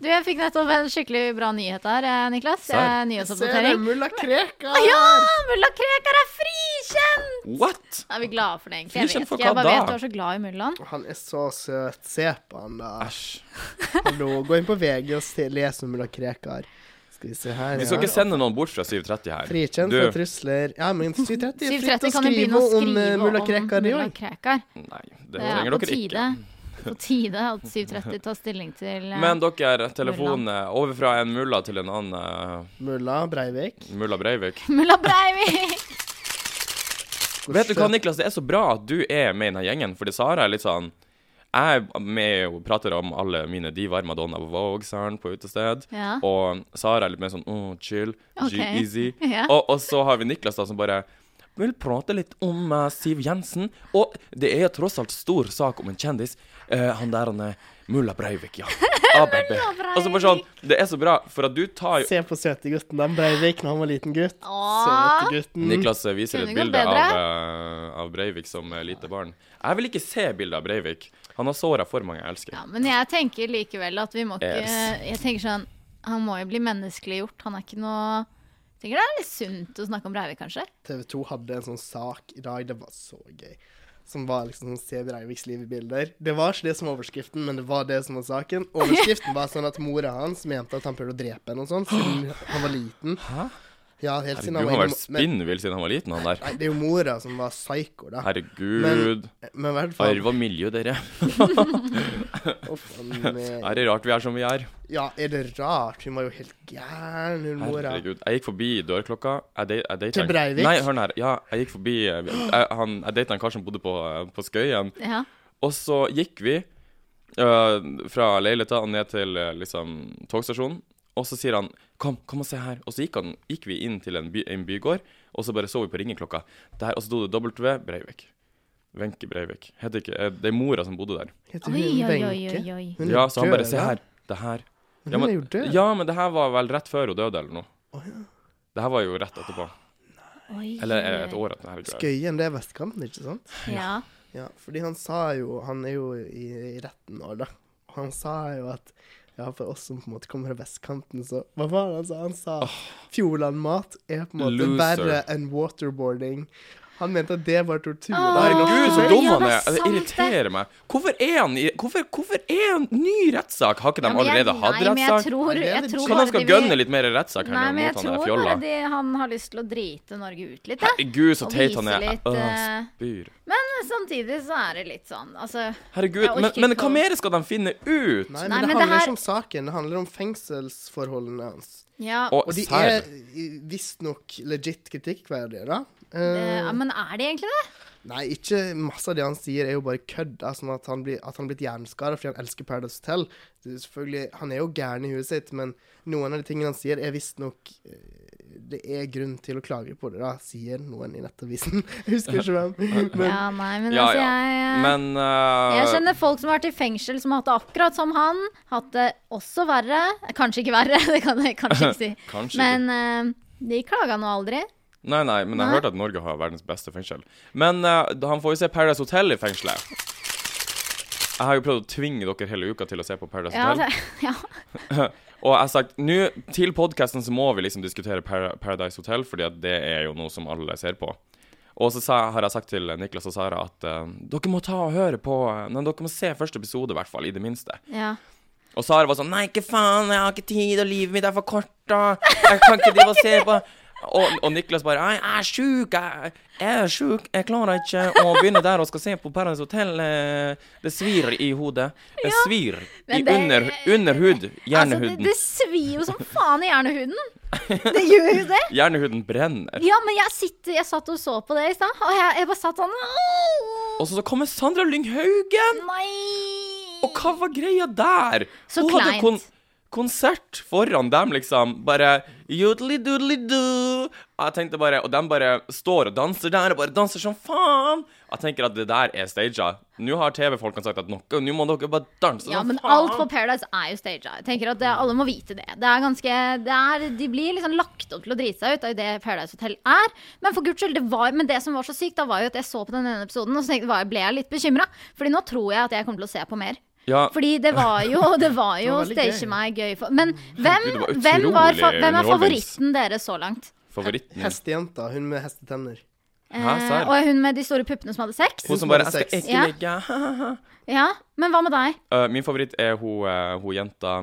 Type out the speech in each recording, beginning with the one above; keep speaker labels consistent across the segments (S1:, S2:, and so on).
S1: Jeg fikk nettopp en skikkelig bra nyhet her, eh, Niklas.
S2: Serr?
S1: Eh,
S2: Se det,
S1: Nyhetsoppdatering.
S2: mulla Krekar!
S1: Ja! Mulla Krekar er frikjent!
S3: What?!
S1: Er vi glade for det, egentlig? Jeg
S3: Frikjent
S1: vet
S3: for
S1: ikke. Jeg
S3: hva
S1: bare
S3: da?
S1: vet du er så glad i mullaen.
S2: Han er så søt. Se på han, da.
S3: Æsj.
S2: Hallo. Gå inn på VG og se- les om mulla Krekar. Skal vi se her,
S3: Vi skal
S2: ja.
S3: ikke sende noen bort fra 7.30 her.
S2: Frikjent for
S3: du,
S2: trusler Ja, men 730 er fritt
S1: 7.30
S2: å
S1: kan jo begynne
S2: skrive
S1: å
S2: om
S1: skrive
S2: eh,
S1: om
S2: mulla Krekar i
S1: mulla
S2: år.
S1: Krekar.
S3: nei, det
S1: Det er
S3: trenger
S1: på
S3: dere
S1: tide.
S3: ikke.
S1: På tide at 7.30 tar stilling til eh,
S3: Men dere, telefon eh, over fra en mulla til en annen eh,
S2: Mulla Breivik.
S3: mulla Breivik.
S1: mulla Breivik!
S3: Vet du hva, Niklas, det er så bra at du er med i denne gjengen, fordi Sara er litt sånn jeg er med og prater om alle mine divaer, Madonna på Vogue, Saren på utested.
S1: Ja.
S3: Og Sara er litt mer sånn oh, chill,
S1: Ok.
S3: easy.
S1: Ja.
S3: Og, og så har vi Niklas da som bare vil prate litt om eh, Siv Jensen. Og det er tross alt stor sak om en kjendis. Eh, han der han er Mulla Breivik, ja. ABB.
S1: Mulla
S3: Og så bare sånn, det er så bra, for at du tar jo
S2: Se på søte gutten den Breivik når han var liten gutt.
S1: Åh.
S2: Søte gutten.
S3: Niklas eh, viser
S1: Kunne
S3: et
S1: gått
S3: bilde av,
S1: bedre.
S3: eh, av Breivik som eh, lite barn. Jeg vil ikke se bildet av Breivik. Han har såra for mange jeg elsker.
S1: Ja, men jeg tenker likevel at vi må ikke
S3: Yes.
S1: Jeg tenker sånn Han må jo bli menneskeliggjort. Han er ikke noe jeg tenker det er litt sunt å snakke om Breivik, kanskje.
S2: TV 2 hadde en sånn sak i dag, det var så gøy. Som var liksom sånn Se Breiviks liv i bilder. Det var ikke det som var overskriften, men det var det som var saken. Overskriften var sånn at mora hans mente at han prøvde å drepe henne og sånn, siden han var liten. Hæ? Ja, helt
S3: Herregud,
S2: siden
S3: han
S2: han
S3: har
S2: var
S3: vært
S2: men,
S3: spinnvill siden han var liten, han
S2: Nei,
S3: der.
S2: det er jo mora som var psyko, da.
S3: Herregud.
S2: Men i hvert fall
S3: Arv og miljø, dere.
S2: Uff, han, eh,
S3: Er det rart vi er som vi er?
S2: Ja, er det rart? Hun var jo helt gæren, hun mora.
S3: Herregud. Jeg gikk forbi dørklokka. Jeg date- jeg date
S2: Til
S3: en-
S2: Breivik?
S3: Nei, hør nå her. Ja, jeg gikk forbi eh, Jeg, han- jeg data en kar som bodde på, eh, på Skøyen.
S1: Ja.
S3: Og så gikk vi øh, fra leiligheta og ned til eh, liksom, togstasjonen. Og så sier han 'kom, kom og se her'. Og så gikk, han, gikk vi inn til en, by, en bygård, og så bare så vi på ringeklokka. Der, og så sto det W Breivik. Wenche Breivik. Heter ikke, eh, det er mora som bodde der.
S2: Heter
S1: Oi,
S2: hun
S1: oi, oi,
S2: Wenche?
S1: oi, oi.
S2: Hun er
S3: Ja, så han bare
S2: død,
S3: 'se
S2: da.
S3: her'. Det her.
S2: Men
S3: Ja,
S2: Hun
S3: men-
S2: er jo død.
S3: Ja, men det her var vel rett før hun døde, eller noe.
S2: Å, ja.
S3: Det her var jo rett etterpå.
S1: oi.
S3: Eller eh, et år etter. herregud.
S2: Skøyen, det er vestkanten, ikke sant?
S1: Ja.
S2: Ja, fordi han sa jo Han er jo i, i retten nå, da. Og han sa jo at ja, for oss som på en måte kommer fra vestkanten, så Hva var det han sa? Han sa Fjordlandmat er på en måte
S3: Loser.
S2: verre enn waterboarding. Han mente at det var
S1: Åh.
S2: tortur. Nei, nå-
S3: Herregud, så
S1: Ja,
S3: dum
S1: det
S3: han
S1: er
S3: er! Det
S1: sant,
S3: irriterer meg. Hvorfor er han i Hvorfor, hvorfor er han ny rettssak? Har ikke de
S1: Ja, men jeg-
S3: allerede hatt
S1: Nei, men jeg
S3: rettssak?
S1: tror,
S2: Det er
S1: jeg
S2: litt sånn.
S1: tror
S3: Kan
S1: bare
S3: han skal
S1: de vil-
S3: gønne litt mer rettssak her
S1: Nei,
S3: nå
S1: men jeg
S3: mot han der
S1: tror
S3: fjolla?
S1: bare de, han har lyst til å drite Norge ut litt, da.
S3: Herregud, så
S1: Og
S3: teit
S1: vise
S3: han er.
S1: litt,
S3: Åh,
S1: eh,
S3: spyr.
S1: Men samtidig så er det litt sånn, altså
S3: Herregud,
S1: jeg orker
S3: men, men
S1: ikke
S3: hva
S1: å-
S3: mer skal de finne ut?
S2: Nei, men
S1: Nei,
S2: det
S1: men det
S2: handler
S1: her-
S2: ikke om saken. Det handler om fengselsforholdene hans.
S1: Ja,
S3: Og
S2: Og de
S3: serr.
S2: er visstnok legit kritikkverdige, da.
S1: det,
S2: Eh,
S1: ja, men er det egentlig det?
S2: Nei, ikke masse av det han sier er jo bare kødd. da, Sånn at han blir, at han er blitt hjerneskada fordi han elsker Paradise Hotel. Det er selvfølgelig, Han er jo gæren i huet sitt, men noen av de tingene han sier, er visstnok eh, Det er grunn til å klage på det, da, sier noen i Nettavisen. Jeg husker ikke hvem. Men
S1: Ja, nei, men
S3: Ja,
S1: altså,
S3: ja.
S1: jeg
S3: Men
S1: Jeg
S3: eh,
S1: kjenner folk som har vært i fengsel som har hatt det akkurat som han. Hatt det også verre. Kanskje ikke verre, det kan jeg kanskje ikke si.
S3: Kanskje
S1: Men eh, de klaga nå aldri.
S3: Nei, nei, men jeg
S1: Nei.
S3: hørte at Norge har verdens beste fengsel. Men eh, da- han får jo se Paradise Hotel i fengselet. Jeg har jo prøvd å tvinge dere hele uka til å se på Paradise
S1: Ja, altså.
S3: Hotel.
S1: det, ja.
S3: Og jeg har sagt nå til podkasten så må vi liksom diskutere Para Paradise Hotel, fordi at det er jo noe som alle ser på. Og så sa, har jeg sagt til Niklas og Sara at eh, dere må ta og høre på eh, Nei, dere må se første episode, i hvert fall. I det minste.
S1: ja.
S3: Og Sara var sånn Nei, ikke faen, jeg har ikke tid, og livet mitt er for kort, og jeg kan ikke drive og se på og, og Niklas bare Nei, jeg er sjuk, jeg, jeg er sjuk, jeg klarer ikke å begynne der og skal se på Paradise Hotel. eh, Det svir i hodet. Det svir i
S1: men det-
S3: under, underhud.
S1: Altså, det,
S3: Hjernehuden.
S1: det svir jo som faen i hjernehuden. Det gjør jo det.
S3: Hjernehuden brenner.
S1: Ja, men jeg, sitter, jeg satt og så på det i stad, og jeg, jeg bare satt sånn «Åh,
S3: Og så så kommer Sandra Lyng Haugen! Og
S1: Nei!
S3: hva var greia der?
S1: Så
S3: Hun hadde
S1: kleint.
S3: kon konsert foran dem, liksom. Bare jodelidodelidoo. Jeg tenkte bare Og de bare står og danser der, og bare danser som faen. Jeg tenker at det der er staged. Nå har TV-folkene sagt at noe, nå må dere bare danse
S1: Ja,
S3: som
S1: men
S3: faen.
S1: alt på Paradise er jo staged. Jeg tenker at det, alle må vite det. Det er ganske det er, De blir liksom lagt opp til å drite seg ut, det er jo det Paradise Hotel er. Men for guds skyld, det var, men det som var så sykt, da var jo at jeg så på den ene episoden, og så tenkte, var, ble jeg litt bekymra. Fordi nå tror jeg at jeg kommer til å se på mer.
S3: Ja,
S1: Fordi det var jo, det var jo
S2: Det var veldig gøy.
S1: Stage meg gøy for Men hvem,
S3: Herregud, det var
S1: hvem, var, fa-
S3: utrolig
S1: hvem er
S3: underholdnings-
S1: favoritten deres så langt?
S3: favoritten min.
S2: Hestejenta. Hun med hestetenner.
S3: Hæ, serr?
S1: Eh, og hun med de store puppene som hadde sex?
S3: Hun som bare
S2: Hun som
S3: Jeg skal
S2: hadde sex.
S3: ikke
S1: Ja.
S3: ligge.
S1: Ja, men hva med deg?
S3: Eh, min favoritt er hun, eh, hun jenta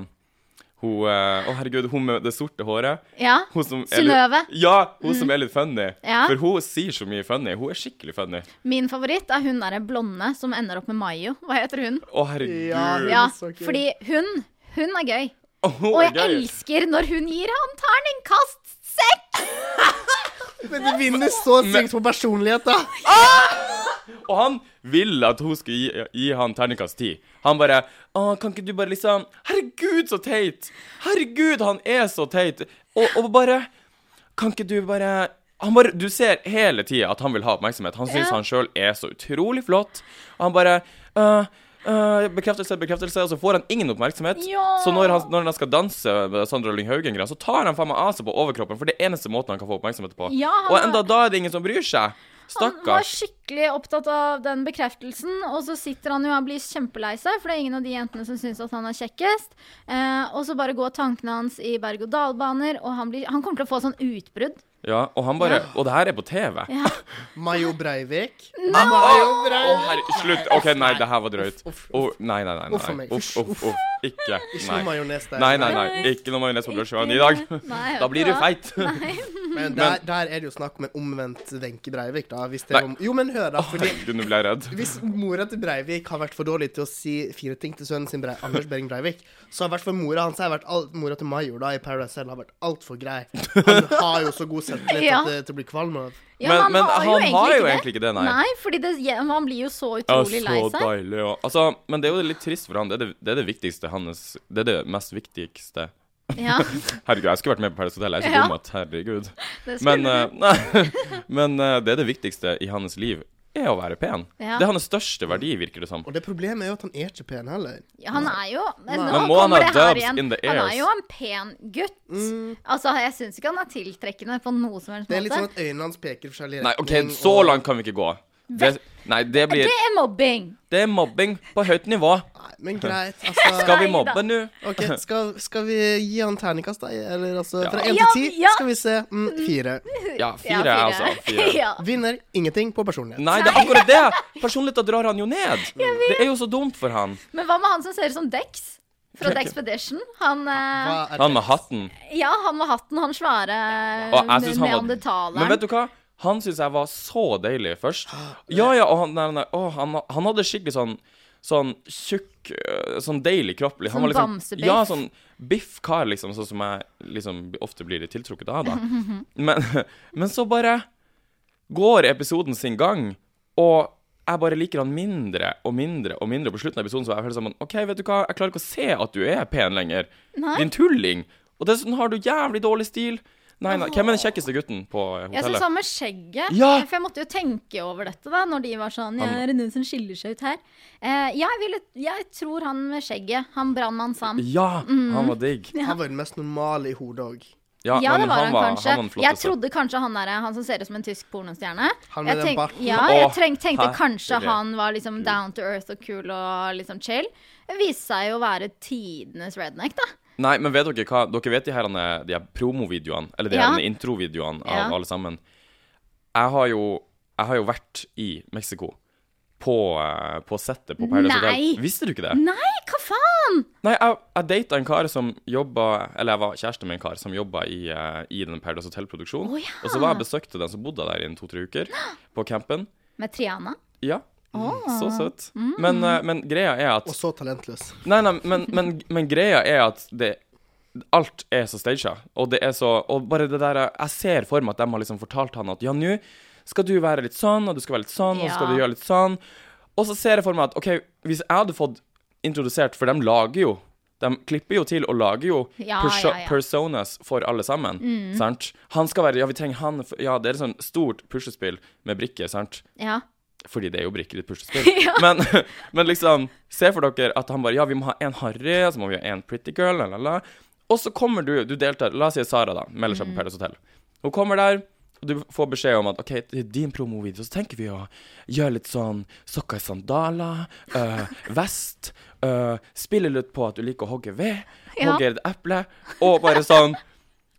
S3: Hun eh, Å, herregud, hun med det sorte håret.
S1: Ja,
S3: Hun som er
S1: Synnøve. Mm.
S3: litt- Ja, hun som er litt funny.
S1: Ja.
S3: For hun sier så mye funny. Hun er skikkelig funny.
S1: Min favoritt er hun derre blonde som ender opp med Mayo. Hva heter hun?
S3: Å, herregud.
S2: Ja, hun-
S1: Ja,
S2: er så gøy.
S1: fordi hun, hun er gøy.
S3: Å, hun
S1: Og
S3: er
S1: jeg
S3: gøy.
S1: elsker når hun gir han terningkast seks!
S2: Men det vinner så sykt på personlighet, da!
S3: Og han ville at hun skulle gi, gi han terningkast ti. Han bare Å, kan ikke du bare liksom Herregud, så teit! Herregud, han er så teit! Og, og bare Kan ikke du bare han bare, Du ser hele tida at han vil ha oppmerksomhet. Han syns
S1: Ja.
S3: han sjøl er så utrolig flott. Og han bare «Øh, øh, bekreftelse, bekreftelse, og så får han ingen oppmerksomhet.
S1: Ja.
S3: Så når han, når han skal danse med Sandra Lyng Haugen, så tar han faen meg av seg på overkroppen, for det er eneste måten han kan få oppmerksomhet på.
S1: Ja, han
S3: og
S1: har-
S3: enda da er det ingen som bryr seg.
S1: Han var
S3: Stakkars.
S1: skikkelig opptatt av den bekreftelsen, og så sitter han jo og blir kjempelei seg, for det er ingen av de jentene som syns at han er kjekkest. Eh, og så bare går tankene hans i berg-og-dal-baner, og han, blir, han kommer til å få sånn utbrudd.
S3: Ja, og han bare Og det her er på TV.
S1: Ja.
S2: Mayo Breivik. Mayo
S3: Å,
S2: Breivik.
S3: herre, slutt. OK, nei, det her var drøyt.
S2: Uff, uff, uff.
S3: Å, nei, nei, nei.
S2: Uff for
S3: nei.
S2: meg.
S3: Uff, uff, uff. Ikke.
S2: Ikke noe
S3: Nei.
S2: majones der.
S3: Nei, nei, nei. Ikke noe majones på brødskiva i dag.
S1: Nei,
S3: Da blir du feit.
S2: Men der, der er det jo snakk om en omvendt Wenche Breivik, da. Hvis det
S3: Nei.
S2: er om... Jo, men hør, da. Fordi
S3: Herregud, nå ble jeg redd.
S2: hvis mora til Breivik har vært for dårlig til å si fire ting til sønnen sin, Brei, Anders Behring Breivik, så har i hvert fall mora hans har vært alt, Mora til Major da i Paradise Hotel har vært altfor grei. Han har jo så god selvtillit
S1: Ja.
S2: at det til å bli kvalm av.
S1: Ja,
S3: Men- men han har jo
S1: det.
S3: egentlig ikke det, nei.
S1: Nei, fordi det, ja, han blir jo så
S3: Ja,
S1: utrolig lei
S3: så
S1: seg.
S3: deilig. Ja. Altså, men det er jo litt trist for han. Det er det, det, er det viktigste hans Det er det mest viktigste.
S1: Ja,
S3: Herregud, jeg skulle vært med på Paradise Hotel. Jeg er så
S1: Ja.
S3: dum at Herregud.
S1: det skulle
S3: Men,
S1: du.
S3: eh, nei, men eh, det er det viktigste i hans liv, er å være pen.
S1: Ja.
S3: Det er hans største verdi, virker det som.
S2: Og det problemet er jo at han er ikke pen heller.
S1: Ja, Han er jo Nå
S2: Men
S3: må han
S1: kommer det
S3: ha
S1: her
S3: dubs
S1: igjen.
S3: in the
S1: Han er
S3: ears?
S1: jo en pen gutt. Altså, jeg syns ikke han er tiltrekkende på noe som helst
S2: Mm. Det er litt
S1: måte.
S2: sånn at øynene hans peker i forskjellig
S3: Nei, OK,
S2: retning.
S3: så
S2: og-
S3: langt kan vi ikke gå. Det, nei, det blir
S1: Det er mobbing!
S3: Det er mobbing på høyt nivå.
S2: Nei, Men greit, altså.
S3: Skal vi
S1: Nei da.
S3: mobbe nå?
S2: Ok, skal, skal vi gi han terningkast, da? Eller altså
S3: Ja.
S2: fra én
S1: Ja,
S2: til ti?
S1: ja.
S2: Skal vi se. Mm, fire.
S1: Ja,
S3: Ja, fire, er altså. Fire.
S1: ja.
S2: Vinner ingenting på personlighet.
S3: Nei, det er akkurat det! Personligheten drar han jo ned. Det er jo så dumt for han.
S1: Men hva med han som ser ut som Dex? Fra Dexpedition. Han, eh,
S2: Hva er
S3: Han
S2: det?
S3: med hatten.
S1: ja, han med hatten, han svære
S3: Og jeg synes han var
S1: neandertaleren.
S3: Men vet du hva? Han syns jeg var så deilig først. Ja, ja, og han, nei, nei, å, han, han hadde skikkelig sånn Sånn tjukk, øh, sånn deilig kropp. Han
S1: Sånn
S3: var liksom,
S1: bamsebiff.
S3: Ja, sånn biff-kar, liksom, sånn som jeg liksom ofte blir litt tiltrukket av, da. Men, men så bare går episoden sin gang, og jeg bare liker han mindre og mindre og mindre. På slutten av episoden så var jeg helt sånn OK, vet du hva, jeg klarer ikke å se at du er pen lenger.
S1: Nei.
S3: Din tulling. Og dessuten har du jævlig dårlig stil. Nei, nei, hvem er den kjekkeste gutten på eh,
S1: Jeg syns
S3: hotellet?
S1: han med skjegget
S3: Ja!
S1: For jeg måtte jo tenke over dette da Når de var sånn Ja,
S3: Han-
S1: er det noen som skiller seg ut her? Eh, jeg, ville, jeg tror han med skjegget Han brannmann Sam
S3: Ja,
S1: Mm.
S3: han var digg.
S2: Han var den mest normale i hodet òg.
S3: Ja,
S1: Ja, det
S3: men
S1: var han, kanskje.
S3: han var den
S1: jeg
S3: flotteste.
S1: trodde kanskje han der, han som ser ut som en tysk pornostjerne.
S2: Han med
S1: Jeg
S2: den
S1: tenk,
S2: barten.
S1: ja, jeg
S3: Åh,
S1: treng, tenkte
S3: herregud.
S1: kanskje han var liksom down to earth og kul og liksom chill. Det viste seg jo å være tidenes redneck, da.
S3: Nei, men vet dere hva? Dere vet de her, eh, de her promovideoene, eller de
S1: Ja.
S3: her introvideoene av
S1: Ja.
S3: alle sammen. Jeg har jo, jeg har jo vært i Mexico. På, eh, på settet på Paradise
S1: Nei.
S3: Hotel. Visste du ikke det?
S1: Nei, hva faen?
S3: Nei, jeg, jeg data en kar som jobba Eller jeg var kjæreste med en kar som jobba i, eh, i den Paradise Hotel-produksjonen.
S1: Å, ja.
S3: Og så var jeg og besøkte den som bodde der i en to-tre uker, på campen.
S1: Med Triana?
S3: Ja. Så søt.
S1: Mm.
S3: Men, eh, men greia er at
S2: Og så talentløs.
S3: Nei, nei, men, men, men greia er at det Alt er så staged, og det er så Og bare det der Jeg ser for meg at de har liksom fortalt han at ja, nå skal du være litt sånn, og du skal være litt sånn, og så skal
S1: Ja.
S3: du gjøre litt sånn. Og så ser jeg for meg at OK, hvis jeg hadde fått introdusert For de lager jo De klipper jo til og lager jo
S1: Ja,
S3: perso
S1: ja, Mm. ja.
S3: personas for alle sammen, sant? Han skal være Ja, vi trenger han for- Ja, det er et sånt stort puslespill med brikker, sant?
S1: Ja.
S3: Fordi det er jo brikker i et puslespill. men, men liksom, se for dere at han bare Ja, vi må ha en Harry, og så må vi ha en Pretty Girl, la, la, la. Og så kommer du, du deltar La oss si Sara, da, melder seg på Paradise Hotel. Hun kommer der, Du får beskjed om at OK, til din promovideo så tenker vi å gjøre litt sånn sokker i sandaler, øh, vest, øh, spille litt på at du liker å hogge ved,
S1: Ja.
S3: hogge et eple, og bare sånn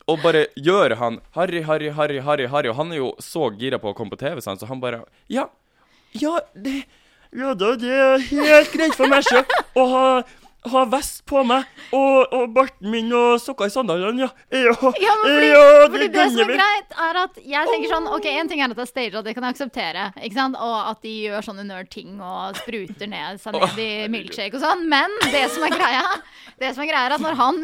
S3: Og bare gjøre han harry, harry, harry, harry, harry. Og han er jo så gira på å komme på TV, sant, så han bare Ja, ja, det Ja da, det er helt greit for meg sjøl å ha, ha vest på meg og, og barten min og sokker i sandalene, ja. Ja,
S1: Ja, men fordi,
S3: ja,
S1: fordi det som er
S3: gønner vi.
S1: greit, er at jeg tenker sånn Ok, en ting er at det er staged, og det kan jeg akseptere. Ikke sant? Og at de gjør sånne nerd-ting og spruter ned seg ned i milkshake og sånn. Men det som er greia, det som er greia er at når han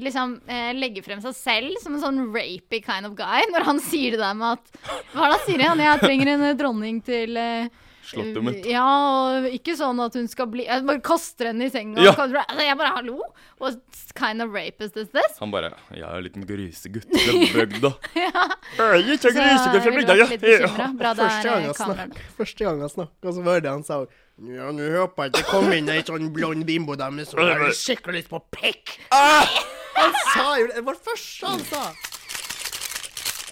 S1: liksom eh, legger frem seg selv som en sånn rapey kind of guy, når han sier det der med at Hva er det han sier igjen? Jeg trenger en eh, dronning til eh,
S3: Slottet mitt.
S1: ja, og ikke sånn at hun skal bli Jeg bare kaster henne i senga.
S3: Ja.
S1: Altså, jeg bare hallo? What kind of rapist is this?
S3: Han bare 'Jeg er en liten grisegutt fra bygda'. Jeg
S1: Så jeg ville vært litt bekymret. Bra det
S2: Første
S1: er
S2: gang altså. han
S1: kameraet.
S2: snakka, første gang han snakka, så var det han sa Ja, nå håper jeg ikke det kommer inn ei sånn blond bimbodame som bare kikker litt på pikk.
S1: Ah!
S2: Han sa jo det! Det var det første han sa!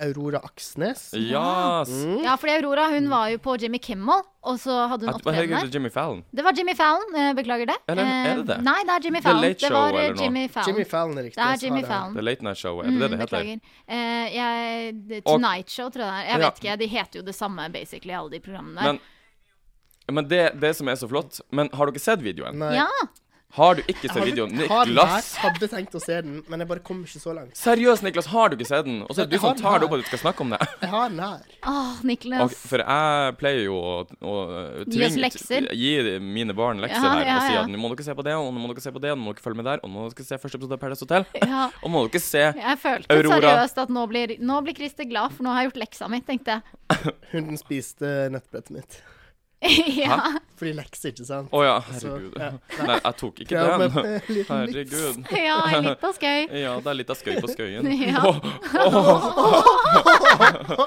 S2: Aurora Aksnes.
S3: Ja, s-
S1: Ja, fordi Aurora hun var jo på Jimmy Kimmel, og så hadde hun
S3: At- Hva
S1: opptreden
S3: heter
S1: her.
S3: det? Jimmy Fallon?
S1: Det var Jimmy Fallon, eh, beklager det.
S3: Eller er det
S1: Eh,
S3: det?
S1: Nei, det er Jimmy
S3: The
S1: Fallon.
S3: Late
S1: Det
S3: Show
S1: var eh,
S3: eller noe?
S1: Jimmy Fallon.
S2: Jimmy Fallon er riktig.
S1: det
S2: jeg
S1: er
S2: sa
S1: Jimmy
S2: det.
S1: Fallon. Mm,
S3: The Late Night Show, er det det det heter?
S1: Beklager. Eh, jeg, det-
S3: Og-
S1: Tonight Show, tror jeg det er. Jeg
S3: Ja.
S1: vet ikke, De heter jo det samme basically, alle de programmene der.
S3: Men, men det, det som er så flott Men har dere sett videoen?
S2: Nei.
S1: ja,
S3: Har du ikke sett
S2: Har-
S3: videoen?
S2: har
S3: Niklas!
S2: vært- Hadde tenkt å se den, men jeg bare kom ikke så langt.
S3: Seriøst, Niklas, har du ikke sett den? Og så er det du
S2: Jeg har
S3: som
S2: den
S3: tar det
S2: her.
S3: opp at du skal snakke om det.
S2: Jeg har den her.
S1: åh, Niklas.
S3: Ok, for jeg pleier jo å, å eh,
S1: Gi oss
S3: tvinge-
S1: lekser.
S3: t- Gi mine barn lekser
S1: Ja,
S3: der
S1: ja,
S3: og si
S1: ja.
S3: at nå må dere se på det, og nå må dere se på det, og nå må dere følge med der, og nå må dere se første episode av Paradise Hotel.
S1: Ja.
S3: Og må dere se
S1: Jeg følte
S3: Aurora.
S1: seriøst at nå blir, nå blir Christer glad, for nå har jeg gjort leksa mi, tenkte
S2: Hunden spiste eh, nettbrettet mitt.
S1: jeg. ja.
S2: Fordi lekser, ikke sant?
S3: Å ja,
S2: Så,
S3: herregud.
S2: ja.
S3: Nei, jeg tok ikke
S2: Krav med
S3: den.
S2: en liten vits.
S3: Herregud.
S1: ja, litt av skøy.
S3: Ja, det er litt av skøy på skøyen.
S1: Ja.
S3: Åh, åh.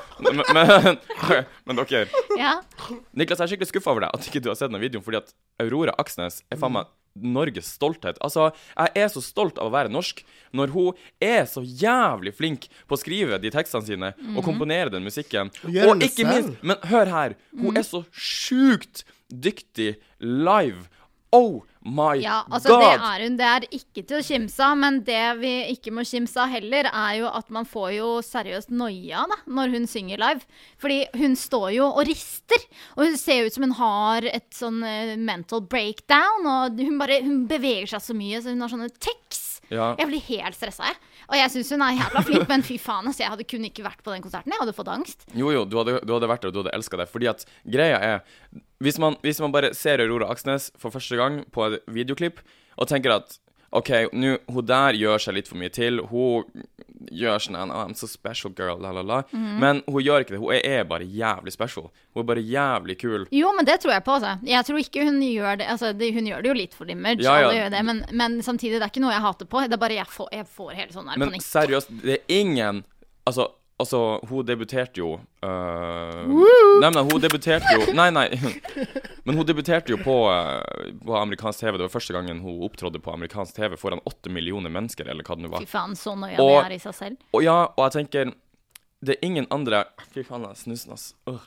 S3: Men, men, men dere,
S1: Ja.
S3: Niklas, jeg er skikkelig skuffa over deg at ikke du har sett den videoen, fordi at Aurora Aksnes er faen meg Norges stolthet. Altså, jeg er så stolt av å være norsk når hun er så jævlig flink på å skrive de tekstene sine og komponere den Mhm. musikken. Mhm.
S2: gjør
S3: Og
S2: det
S3: ikke
S2: selv.
S3: minst Men hør her, hun er så sjukt dyktig live. Oh my
S1: Ja, altså
S3: god!
S1: det er hun. Det er ikke til å kimse av, men det vi ikke må kimse av heller, er jo at man får jo seriøst noia da, når hun synger live. Fordi hun står jo og rister, og hun ser ut som hun har et sånn eh, mental breakdown, og hun bare hun beveger seg så mye, så hun har sånne tics.
S3: Ja.
S1: Jeg blir helt stressa, jeg. Og jeg syns hun er jævla flink, men fy faen, altså, jeg hadde kun ikke vært på den konserten. Jeg hadde fått angst.
S3: Jo, jo, du hadde, du hadde vært der, og du hadde elska det. Fordi at greia er hvis man, hvis man bare ser Aurora Aksnes for første gang på et videoklipp og tenker at OK, nå, hun der gjør seg litt for mye til. Hun gjør sånn «Ah, I'm so special girl, la, la, la. Men hun gjør ikke det. Hun er- er bare jævlig special. Hun er bare jævlig kul.
S1: Jo, men det tror jeg på, altså. Jeg tror ikke hun gjør det Altså, det, hun gjør det jo litt for image,
S3: Ja, ja.
S1: alle gjør det, men, men samtidig, det er ikke noe jeg hater på. Det er bare jeg får, jeg får helt sånn der
S3: Men
S1: panikk.
S3: seriøst, det er ingen Altså, altså hun debuterte jo øh, Nei, men hun debuterte jo Nei, nei. Men hun debuterte jo på, øh, på amerikansk TV. Det var første gangen hun opptrådde på amerikansk TV foran åtte millioner mennesker, eller hva det nå var.
S1: Fy faen, så nøya det
S3: Og-
S1: er i seg selv.
S3: Og ja, og jeg tenker Det er ingen andre Fy faen, jeg er snusen, ass. Øh.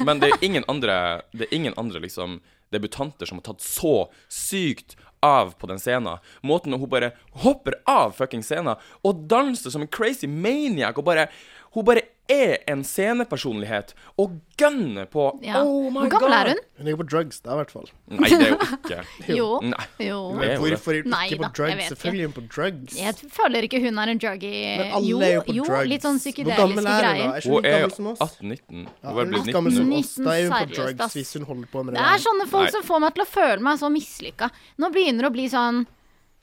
S3: Men det er ingen andre Det er ingen andre liksom debutanter som har tatt så sykt av på den scenen. Måten hun bare hopper av fucking scenen og danser som en crazy maniac og bare Hun bare er en scenepersonlighet og gønner på.
S1: Ja.
S3: Oh my god!
S1: Hvor gammel er hun?
S2: Hun ligger på drugs, da, i hvert fall.
S3: Nei, det er hun ikke.
S1: Jo.
S3: Nei.
S1: jo.
S3: Det er jo det.
S2: Hvorfor er hun
S1: Nei da,
S2: ikke på
S1: jeg vet
S2: drugs?
S1: ikke.
S2: Selvfølgelig er hun på drugs.
S1: Jeg t- føler ikke hun er en druggy
S2: Men alle
S1: Jo,
S2: er jo på
S1: jo
S2: drugs.
S1: litt sånn
S2: Hvor gammel
S1: psykedeliske
S2: er hun da?
S1: greier.
S2: Er ikke hun
S3: Hun
S2: like
S3: er jo
S2: gammel som oss?
S3: 18-19. Hun er blitt
S2: like gammel som
S3: 19.
S2: oss. Da er hun
S1: 19,
S2: på
S1: seriøst, ass.
S2: drugs hvis hun holder på med det.
S1: Det er sånne folk
S3: Nei.
S1: som får meg til å føle meg så mislykka. Nå begynner det å bli sånn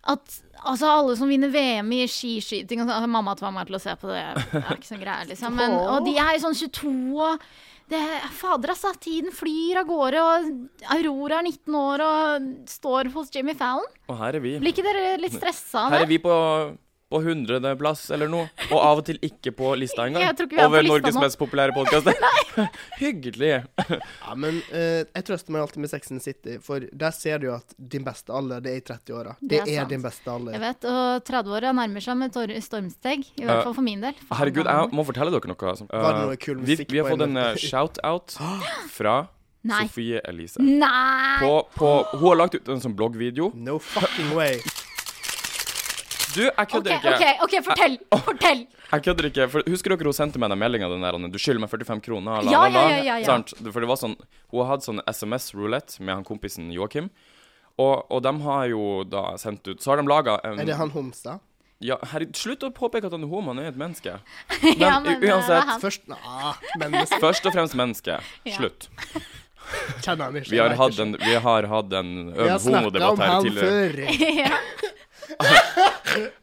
S1: at altså, alle som vinner VM i skiskyting og sånn, altså, Mamma tvang meg til å se på det. Det er ikke sånn greier, liksom. Men, og de er jo sånn 22 og det, Fader, altså. Tiden flyr av gårde, og Aurora er 19 år og står hos Jimmy Fallon.
S3: Og her er vi.
S1: Blir ikke dere litt stressa av
S3: Her
S1: det?
S3: er vi på, på 100. plass eller noe, og av og til ikke på lista engang.
S1: Jeg tror ikke vi er på
S3: Over
S1: lista
S3: Norges
S1: nå.
S3: mest populære podkast. Hyggelig.
S2: Ja, men eh, jeg trøster meg alltid med Sex and the City, for der ser du jo at din beste alder, det er i 30-åra. Det,
S1: Det er
S2: er,
S1: sant.
S2: din beste
S1: Jeg
S2: alder.
S1: vet, og 30-åra nærmer seg med tor stormsteg. I
S3: Eh,
S1: hvert fall for min del. Faen,
S3: Herregud,
S1: da.
S3: jeg må fortelle dere noe. Som,
S2: Var det noe kul
S3: vi,
S2: musikk
S3: vi har
S2: på
S3: fått en
S2: en-
S3: eh, shout-out fra
S1: Nei.
S3: Sofie Elise.
S1: Nei!
S3: På, på, hun har lagt ut en sånn bloggvideo.
S2: No fucking way.
S3: Du, jeg
S1: OK,
S3: kødder
S1: OK,
S3: ikke.
S1: ok, fortell! Fortell!
S3: Jeg kødder ikke, for Husker dere hun sendte meg den meldinga den der 'Du skylder meg 45 kroner'? La,
S1: Ja,
S3: la, la.
S1: ja, ja, ja, ja.
S3: Sant? For det var sånn Hun hadde sånn SMS-rulett med han kompisen Joakim. Og, og de har jo da sendt ut Så har de laga
S2: Er det han homsa?
S3: ja, herregud, Slutt å påpeke at han er homo, han er et menneske.
S1: Ja,
S3: Men
S1: eh,
S3: uansett-
S1: han-
S2: Først Nei, men vi
S3: Først og fremst menneske.
S1: Ja.
S3: Slutt.
S2: kjenner han ikke.
S3: Vi har
S2: jeg vet
S3: hatt
S2: ikke.
S3: en, vi har hatt en
S2: Vi
S3: øm
S2: har snakka
S3: homodebatt
S2: om
S3: her
S2: han
S3: tidligere.
S2: før.
S1: ja.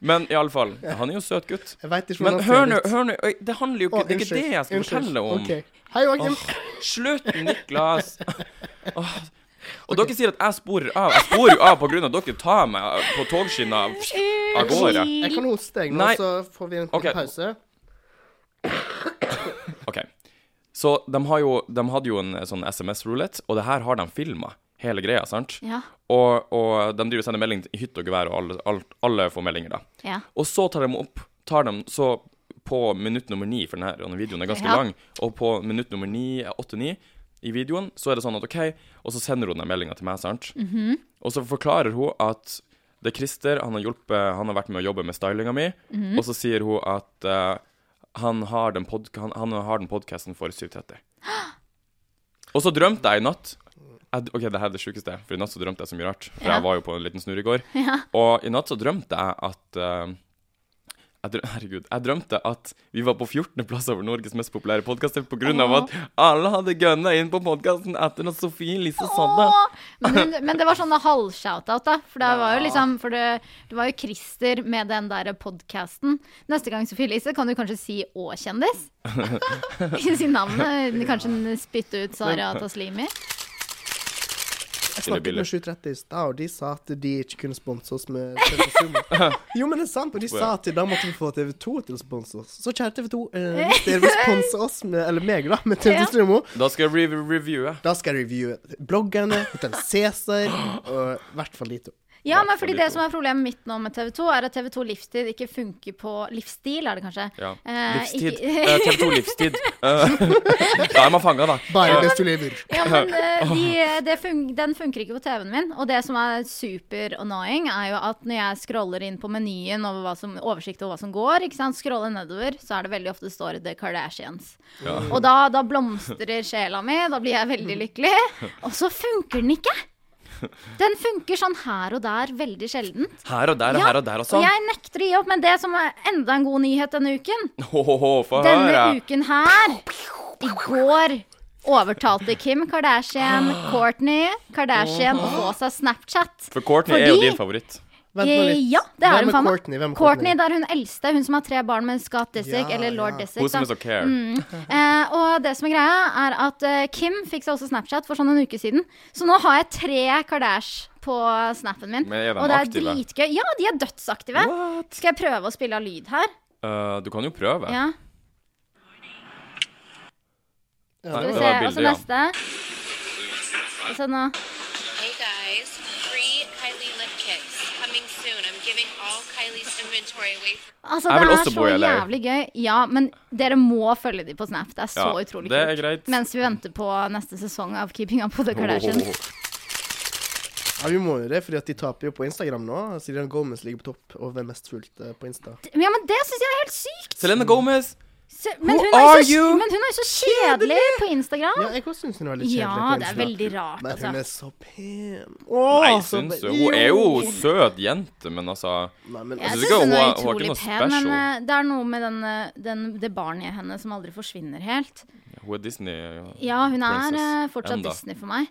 S3: Men iallfall, han er jo søt gutt.
S2: Jeg veit ikke
S3: Men
S2: hvordan
S3: hør
S2: han
S3: nå,
S2: ser ut.
S3: hør nå, øy, det handler jo
S2: Å,
S3: ikke Det er ikke
S2: unnskyld,
S3: det jeg skal
S2: unnskyld.
S3: fortelle om.
S2: Ok. Hei, Joakim.
S3: Slutt, Niklas! Åh. Og dere sier at jeg sporer av. Jeg sporer jo av på grunn av at dere tar meg på togskinna av gårde.
S2: Jeg kan hoste deg nå,
S3: Nei.
S2: så får vi en liten
S3: Ok.
S2: pause.
S3: OK. Så de, har jo, de hadde jo en sånn SMS-rulett, og det her har de filma, hele greia, sant?
S1: Ja.
S3: Og, og de driver og sender melding i hytte og gevær, og alle, alt, alle får meldinger, da.
S1: ja.
S3: Og så tar de opp Tar de så på minutt nummer ni, for denne, denne videoen er ganske
S1: Ja.
S3: lang, og på minutt nummer ni, åtte-ni i videoen, så er det sånn at OK, og så sender hun den meldinga til meg, sant? Og så forklarer hun at det er Christer, han har hjulpet Han har vært med å jobbe med stylinga mi, og så sier hun at eh, han har den, podka- han, han har den podkasten for 7.30. Og så drømte jeg i natt jeg, OK, det her er det sjukeste, for i natt så drømte jeg så mye rart. For
S1: Ja.
S3: jeg var jo på en liten snurr i går. Og i natt så drømte jeg at eh, jeg drø Herregud. Jeg drømte at vi var på 14. plass over Norges mest populære podkaster av at alle hadde gønna inn på podkasten etter at Sofie Elise sa det.
S1: Åh! Men, men det var sånne halvshoutout, da. For det var jo liksom For det, det var jo Christer med den der podcasten. Neste gang Sofie Elise kan du kanskje si 'Å, kjendis'? si navnet. Kanskje spytte ut Sara Taslimi.
S2: Jeg
S3: Stille
S2: snakket
S3: bilder.
S2: med 730 i stad, og de sa at de ikke kunne sponse oss med TV2-sumo. Jo, men det er sant, og de sa at da måtte vi få TV2 til å sponse oss. Så kjære TV2, eh, hvis dere vil sponse oss med, eller meg, da, med TV2-sumo,
S3: Da skal jeg re reviewe.
S2: da skal jeg reviewe bloggerne, Hotell Cæsar og i hvert fall de to.
S1: Ja, men
S3: for
S1: fordi
S3: de
S1: det
S3: to.
S1: som er problemet mitt nå med TV2, er at TV2 Livstid ikke funker på Livsstil, er det kanskje?
S3: Ja.
S1: Eh,
S3: livstid.
S1: ikke-
S3: Eh, TV 2 Livstid. Eh, da er man fanga, da.
S2: Bare hvis du lever.
S1: Ja, men eh, de, det fun den funker ikke på TV-en min. Og det som er super annoying, er jo at når jeg scroller inn på menyen over hva som, oversikt over hva som går, ikke sant? scroller nedover, så er det veldig ofte det står The Kardashians.
S3: Ja.
S1: Og da, da blomstrer sjela mi, da blir jeg veldig lykkelig. Og så funker den ikke! Den funker sånn her og der veldig sjeldent.
S3: Her og der og
S1: Ja,
S3: her og der og sånn.
S1: jeg nekter å gi opp, men det som er enda en god nyhet denne uken,
S3: Ho, ho, ho, Få høre.
S1: denne uken her I går overtalte Kim Kardashian Kourtney Kardashian å få seg Snapchat.
S3: For Courtney er jo
S1: Fordi-
S3: din favoritt.
S2: Vent nå
S1: Eh,
S2: litt.
S1: Ja, det er
S2: Hvem
S1: hun faen meg.
S2: Courtney? Hvem er
S1: Kourtney,
S2: Courtney?
S1: det er hun eldste, hun som har tre barn med Scott Disick,
S2: Ja,
S1: eller lord
S2: ja.
S1: Disick.
S3: Hun som
S1: da.
S3: er så care.
S1: Eh, og det som er greia, er at eh, Kim fikk seg også Snapchat for sånn en uke siden. Så nå har jeg tre Kardash på snappen min.
S3: Men er de
S1: og det er
S3: aktive?
S1: dritgøy. Ja, de er dødsaktive. Skal jeg prøve å spille av lyd her?
S3: Eh, du kan jo prøve.
S1: Ja.
S2: Ja,
S3: Nei,
S1: Skal vi
S3: det
S1: se.
S3: var
S1: Og så
S3: bildet, ja.
S1: neste. Og så nå.
S4: Hey guys, free Kylie lip kits coming soon. I'm giving all Kylie's inventory away for
S1: Altså,
S3: Jeg
S1: det
S3: vil
S1: er
S3: også bo
S1: så
S3: i LA.
S1: jævlig gøy. Ja, men dere må følge dem på Snap. Det er så
S3: Ja,
S1: utrolig
S3: det er
S1: kult.
S3: greit.
S1: Mens vi venter på neste sesong av Keeping Up with the
S3: Ho, ho, ho,
S1: Kardashians.
S3: ho.
S2: Ja, vi må jo det, fordi at de taper jo på Instagram nå. Selena Gomez ligger på topp over mest fulgte på Insta.
S1: Ja, men det syns jeg er helt sykt!
S3: Selena Gomez.
S1: Se- Men
S3: Who
S1: hun, er
S3: are
S1: jo så,
S3: you?
S1: men hun er jo så kjedelig på Instagram.
S2: Ja, jeg også syns hun er veldig kjedelig.
S1: Ja,
S2: på
S1: det er
S2: Insta.
S1: veldig rart,
S2: Men hun
S1: altså.
S2: er så pen.
S3: Nei,
S2: Åh, så
S3: syns
S2: be-
S3: du. Hun er jo søt jente, men altså
S2: Nei, men
S1: Jeg
S3: synes
S2: altså,
S3: ikke
S1: syns hun er
S3: hun er- hun er ikke
S1: utrolig
S3: noe
S1: pen, men
S3: special.
S1: eh, det er noe med den, eh, den, det barnet i henne som aldri forsvinner helt.
S3: Hun er Disney. eh,
S1: Ja, hun er
S3: princess
S1: eh, fortsatt
S3: enda.
S1: Disney for meg.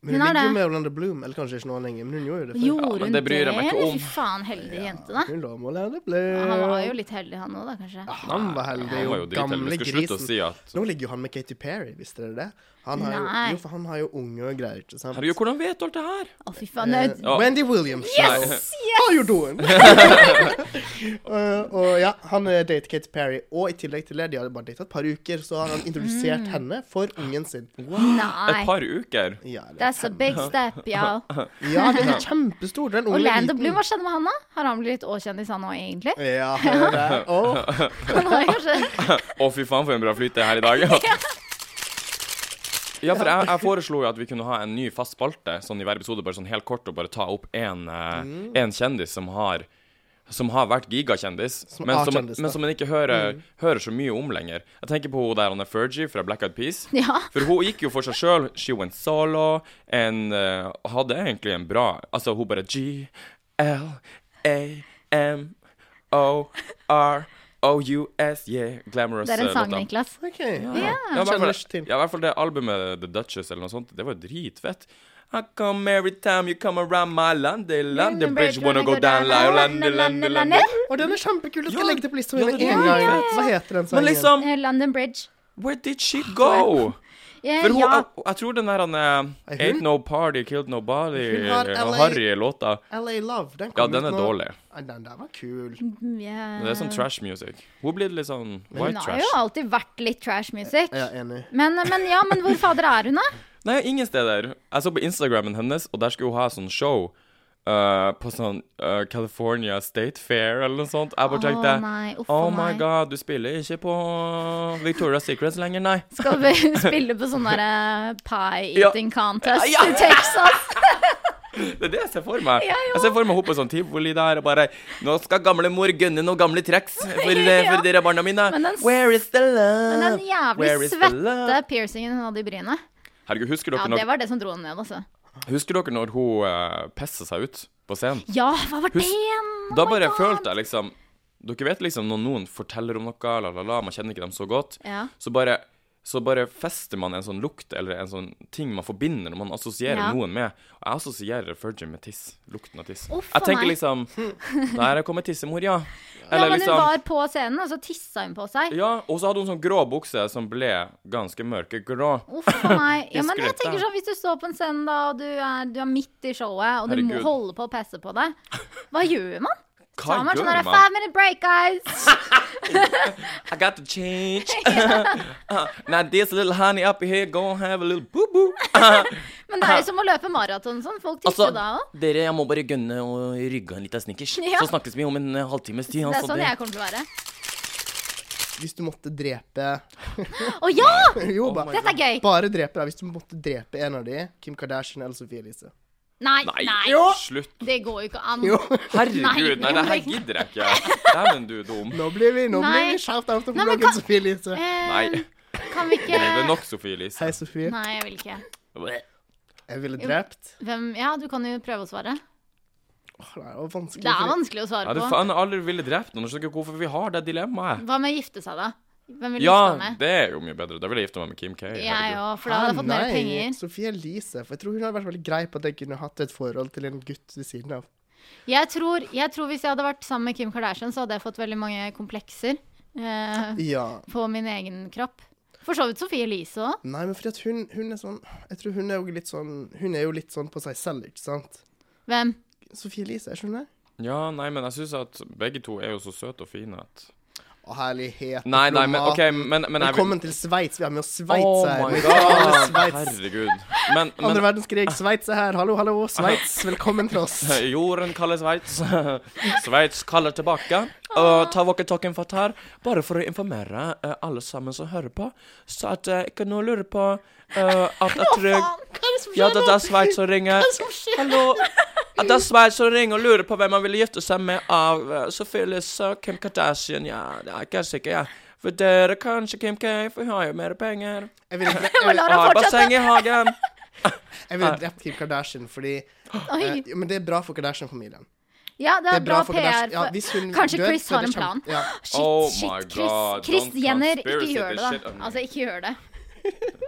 S2: men
S1: hun
S2: hun
S1: er
S2: ligger jo
S1: det.
S2: med Orlando Bloom, eller kanskje ikke nå lenger, men hun gjorde jo det før.
S1: Gjorde
S3: men
S1: hun
S3: det bryr jeg meg ikke
S1: eller?
S3: om.
S1: Fy faen, heldig jente, da.
S2: Hun lå med Orlando
S1: Han var
S2: Bloom.
S1: jo litt heldig, han òg, da, kanskje.
S2: Han var heldig,
S3: Han var jo
S2: jo
S3: dritheldig.
S2: gamle
S3: Vi skal slutte å
S2: grisen.
S3: si at
S2: Nå ligger jo han med Katy Perry, visste dere det? Han har jo,
S1: Nei.
S2: jo, for han har jo unge og greier, ikke sant?
S3: Herregud, hvordan vet du alt det her?
S1: Å, fy faen. det er-
S2: Eh, Wendy Williams.
S1: Yes!
S2: How you doing? Eh, og ja, han eh, dater Katy Perry. Og i tillegg til det, de hadde bare data et par uker, så har han
S1: Mm.
S2: introdusert henne for ungen sin.
S1: Nei.
S3: Et par uker.
S2: Ja, det,
S1: That's a big step, y'all.
S2: ja, det er kjempestort. Den ungen er
S1: Orlando
S2: liten.
S1: Bloom, hva skjedde med han da? Har han blitt Å-kjendis han òg, egentlig?
S2: Ja, hør der. Å,
S1: Han har kanskje
S3: Å, fy faen, for en bra flyt det er her i dag. Ja, ja for jeg, jeg foreslo jo at vi kunne ha en ny fast spalte sånn i hver episode, bare sånn helt kort, og bare ta opp en, eh, en kjendis som har som har vært gigakjendis, men,
S2: er
S3: som-
S2: kjendis, da.
S3: men som en ikke hører, hører så mye om lenger. Jeg tenker på hun der Anne Fergie fra Black Eyed Peas.
S1: Ja.
S3: For hun gikk jo for seg sjøl. She went solo. En, eh, hadde egentlig en bra Altså, hun bare G-L-A-M-O-R-O-U-S, yeah. Glamorous.
S1: Det er en
S3: eh,
S1: sang,
S3: låta.
S1: Niklas.
S2: ok.
S3: Ja, i hvert
S2: Kjenner
S3: fall-
S2: ikke til.
S3: ja, i hvert fall det albumet The Duchess eller noe sånt, det var jo dritfett. I come every time you come around my London, London bridge, wanna go down, like London, London, London.
S2: Og den er kjempekul. Jeg skal
S3: Ja,
S2: legge det på lista
S3: ja,
S2: mi med
S3: det er
S2: en gang.
S3: dritfett.
S2: Hva heter den
S3: Men
S2: sangen?
S3: liksom,
S1: Eh, London Bridge.
S3: where did she go?
S1: Eh,
S3: For hun,
S1: ja.
S3: jeg, jeg tror den der han, eh,
S2: Ei, hun-
S3: Ain't No Party, Killed Nobody, eh,
S2: Hun har LA
S3: Harry-låta,
S2: LA Love. Den kom
S3: ja,
S2: ut
S3: den er
S2: nå.
S3: dårlig.
S2: Nei, den der var kul.
S1: Mm. Yeah.
S3: Det er sånn trash music. Hun blir litt sånn
S1: Hun
S3: white
S1: har
S3: trash.
S1: jo alltid vært litt trash music.
S2: Jeg er enig.
S1: Men, eh, men ja, men hvor fader er hun, da?
S3: Nei, ingen steder. Jeg så på Instagrammen hennes, og der skulle hun ha sånn show. eh, på sånn eh, California State Fair eller noe sånt. Jeg bare
S1: Å,
S3: tenkte
S1: nei, uff,
S3: Oh
S1: nei.
S3: my god, du spiller ikke på Victoria's Secrets lenger, nei.
S1: Skal vi spille på sånn derre pie eating contest
S3: Ja.
S1: i Texas?
S3: Det er det jeg ser for meg.
S1: Ja, jo.
S3: Jeg ser for meg hun på sånn tivoli der og bare Nå skal gamlemor gønne noen gamle tracks for, eh, for dere barna mine.
S1: Men den s-
S3: Where is the love?
S1: Men den
S3: Where
S1: jævlig
S3: is the
S1: svette
S3: love?
S1: piercingen hun hadde i brynet.
S3: Herregud, husker
S1: Ja,
S3: dere,
S1: det
S3: når,
S1: var det som dro henne ned, altså.
S3: husker dere når hun uh, pissa seg ut på scenen?
S1: Ja, hva var Oh det
S3: Husk-
S1: igjen?
S3: Da bare følte jeg liksom Dere vet liksom når noen forteller om noe, la, la, la, man kjenner ikke dem så godt,
S1: Ja.
S3: så, bare, så bare fester man en sånn lukt eller en sånn ting man forbinder når man assosierer
S1: Ja.
S3: noen med. Og jeg assosierer Fergie med tiss. Lukten av tiss.
S1: Uff,
S3: jeg
S1: for
S3: tenker
S1: meg.
S3: liksom Der er kommet tissemor, ja.
S1: Ja,
S3: Eller
S1: men hun
S3: liksom
S1: var på scenen, og så tissa hun på seg.
S3: Ja, og så hadde hun sånn grå bukse som ble ganske mørkegrå.
S1: Uff for meg. Ja,
S3: Husker
S1: men jeg
S3: dette?
S1: tenker sånn, Hvis du står på en scene da, og du er, du er midt i showet, og du må
S3: Herregud.
S1: holde på å pisse på deg, hva gjør man?
S3: Hva
S1: Tar man
S3: gjør
S1: sånn her,
S3: man?
S1: Five minute break, guys!
S3: I got to change. Uh, now this little honey up here gonna have a little boo-boo.
S1: Men det er jo som å løpe maraton sånn. Folk tisser
S3: Altså,
S1: jo da òg.
S3: dere, jeg må bare gønne og rygge en liten snickers.
S1: Ja.
S3: Så snakkes vi om en eh, halvtimes tid.
S1: Det
S3: altså,
S1: er sånn
S3: det-
S1: jeg kommer til å være.
S2: Hvis du måtte drepe
S1: Å ja!
S2: Jo,
S3: Oh my
S2: bare,
S1: Dette er gøy.
S2: bare drepe deg. Hvis du måtte drepe en av de, Kim Kardashian eller Sophie Elise.
S1: Nei,
S3: Nei,
S1: nei.
S3: slutt.
S1: Det går jo ikke an.
S2: Jo.
S3: Herregud,
S1: Nei,
S3: nei, det her
S1: nei.
S3: gidder jeg ikke. Dæven, du er dum.
S2: Nå blir vi, nå blir
S1: Nei.
S2: vi shout out om
S1: Nei, men
S2: bloggen
S1: hva-
S2: Sophie Elise.
S3: Nei,
S1: Eh,
S3: det
S1: kan vi ikke
S3: er nok, Sofie Elise.
S2: Hei, Sofie.
S1: Nei, jeg vil ikke.
S2: Jeg ville drept.
S1: Hvem Ja, du kan jo prøve å svare.
S2: Åh, nei, det var vanskelig.
S1: Det er
S2: fordi-
S1: vanskelig å
S3: Ja,
S1: svare
S3: du
S1: på.
S3: faen jeg aldri ville drept noen. Jeg skjønner ikke hvorfor vi har det dilemmaet.
S1: Hva med å gifte seg, da? Hvem vil
S3: Ja,
S1: gifte seg med?
S3: det er jo mye bedre. Da ville jeg gifte meg med Kim K.
S1: Jeg
S3: herregud.
S1: òg, for da hadde jeg fått mer
S2: Nei,
S1: penger.
S2: Sophie Elise. For jeg tror hun hadde vært veldig grei på at jeg kunne hatt et forhold til en gutt ved siden av.
S1: Jeg tror, jeg tror hvis jeg hadde vært sammen med Kim Kardashian, så hadde jeg fått veldig mange komplekser eh,
S2: Ja.
S1: på min egen kropp. For så vidt Sophie Elise òg.
S2: Nei, men fordi at hun, hun er sånn Jeg tror hun er jo litt sånn Hun er jo litt sånn på seg selv, ikke sant?
S1: Hvem?
S2: Sophie Elise, er ikke hun det?
S3: Ja, nei, men jeg syns at begge to er jo så søte og fine at
S2: Å, herlighet.
S3: Nei, nei, men
S2: diplomaten.
S3: OK, men, men jeg vil
S2: Velkommen til Sveits. Vi har med oss Sveits
S3: Oh
S2: her.
S3: my
S2: Vi har med oss
S3: god,
S2: Sveits.
S3: herregud. Men,
S2: Andre
S3: men
S2: verdenskrig, Sveits er her. Hallo, hallo, Sveits. Velkommen til oss.
S3: Jorden kaller Sveits. Sveits kaller tilbake. Og ta walkietalkien fatt her, bare for å informere eh, alle sammen som hører på, så at eh, ikke noe lurer på eh, at jeg tror Ja, det er Sveits som ringer. Hallo. Ja, Det er Sveits som ringer og lurer på hvem man ville gifte seg med av eh, Sophie Elise og Kim Kardashian. Ja, det er ikke sikkert, ja. Vurderer kanskje Kim K, for hun har jo mer penger.
S2: Jeg ville drept,
S1: Lar
S2: jeg ville,
S3: Og
S1: han
S3: har
S1: fortsette?
S3: basseng i hagen.
S2: jeg ville drept Kim Kardashian fordi eh,
S1: Oi.
S2: jo, Men det er bra for Kardashian-familien.
S1: Ja, det er, bra, PR.
S2: Kardashian- ja,
S1: for-
S2: hvis hun
S1: Kanskje
S2: dør,
S1: Chris
S2: så er
S1: har
S2: det
S1: en
S2: kjempe-
S1: plan.
S2: Ja.
S1: Shit,
S3: Oh my
S1: shit, Chris,
S3: God,
S1: Chris
S3: don't
S1: Jenner, ikke
S3: conspiracy
S1: gjør
S3: this
S1: det,
S3: shit
S1: da.
S3: on me.
S1: Altså, ikke gjør det.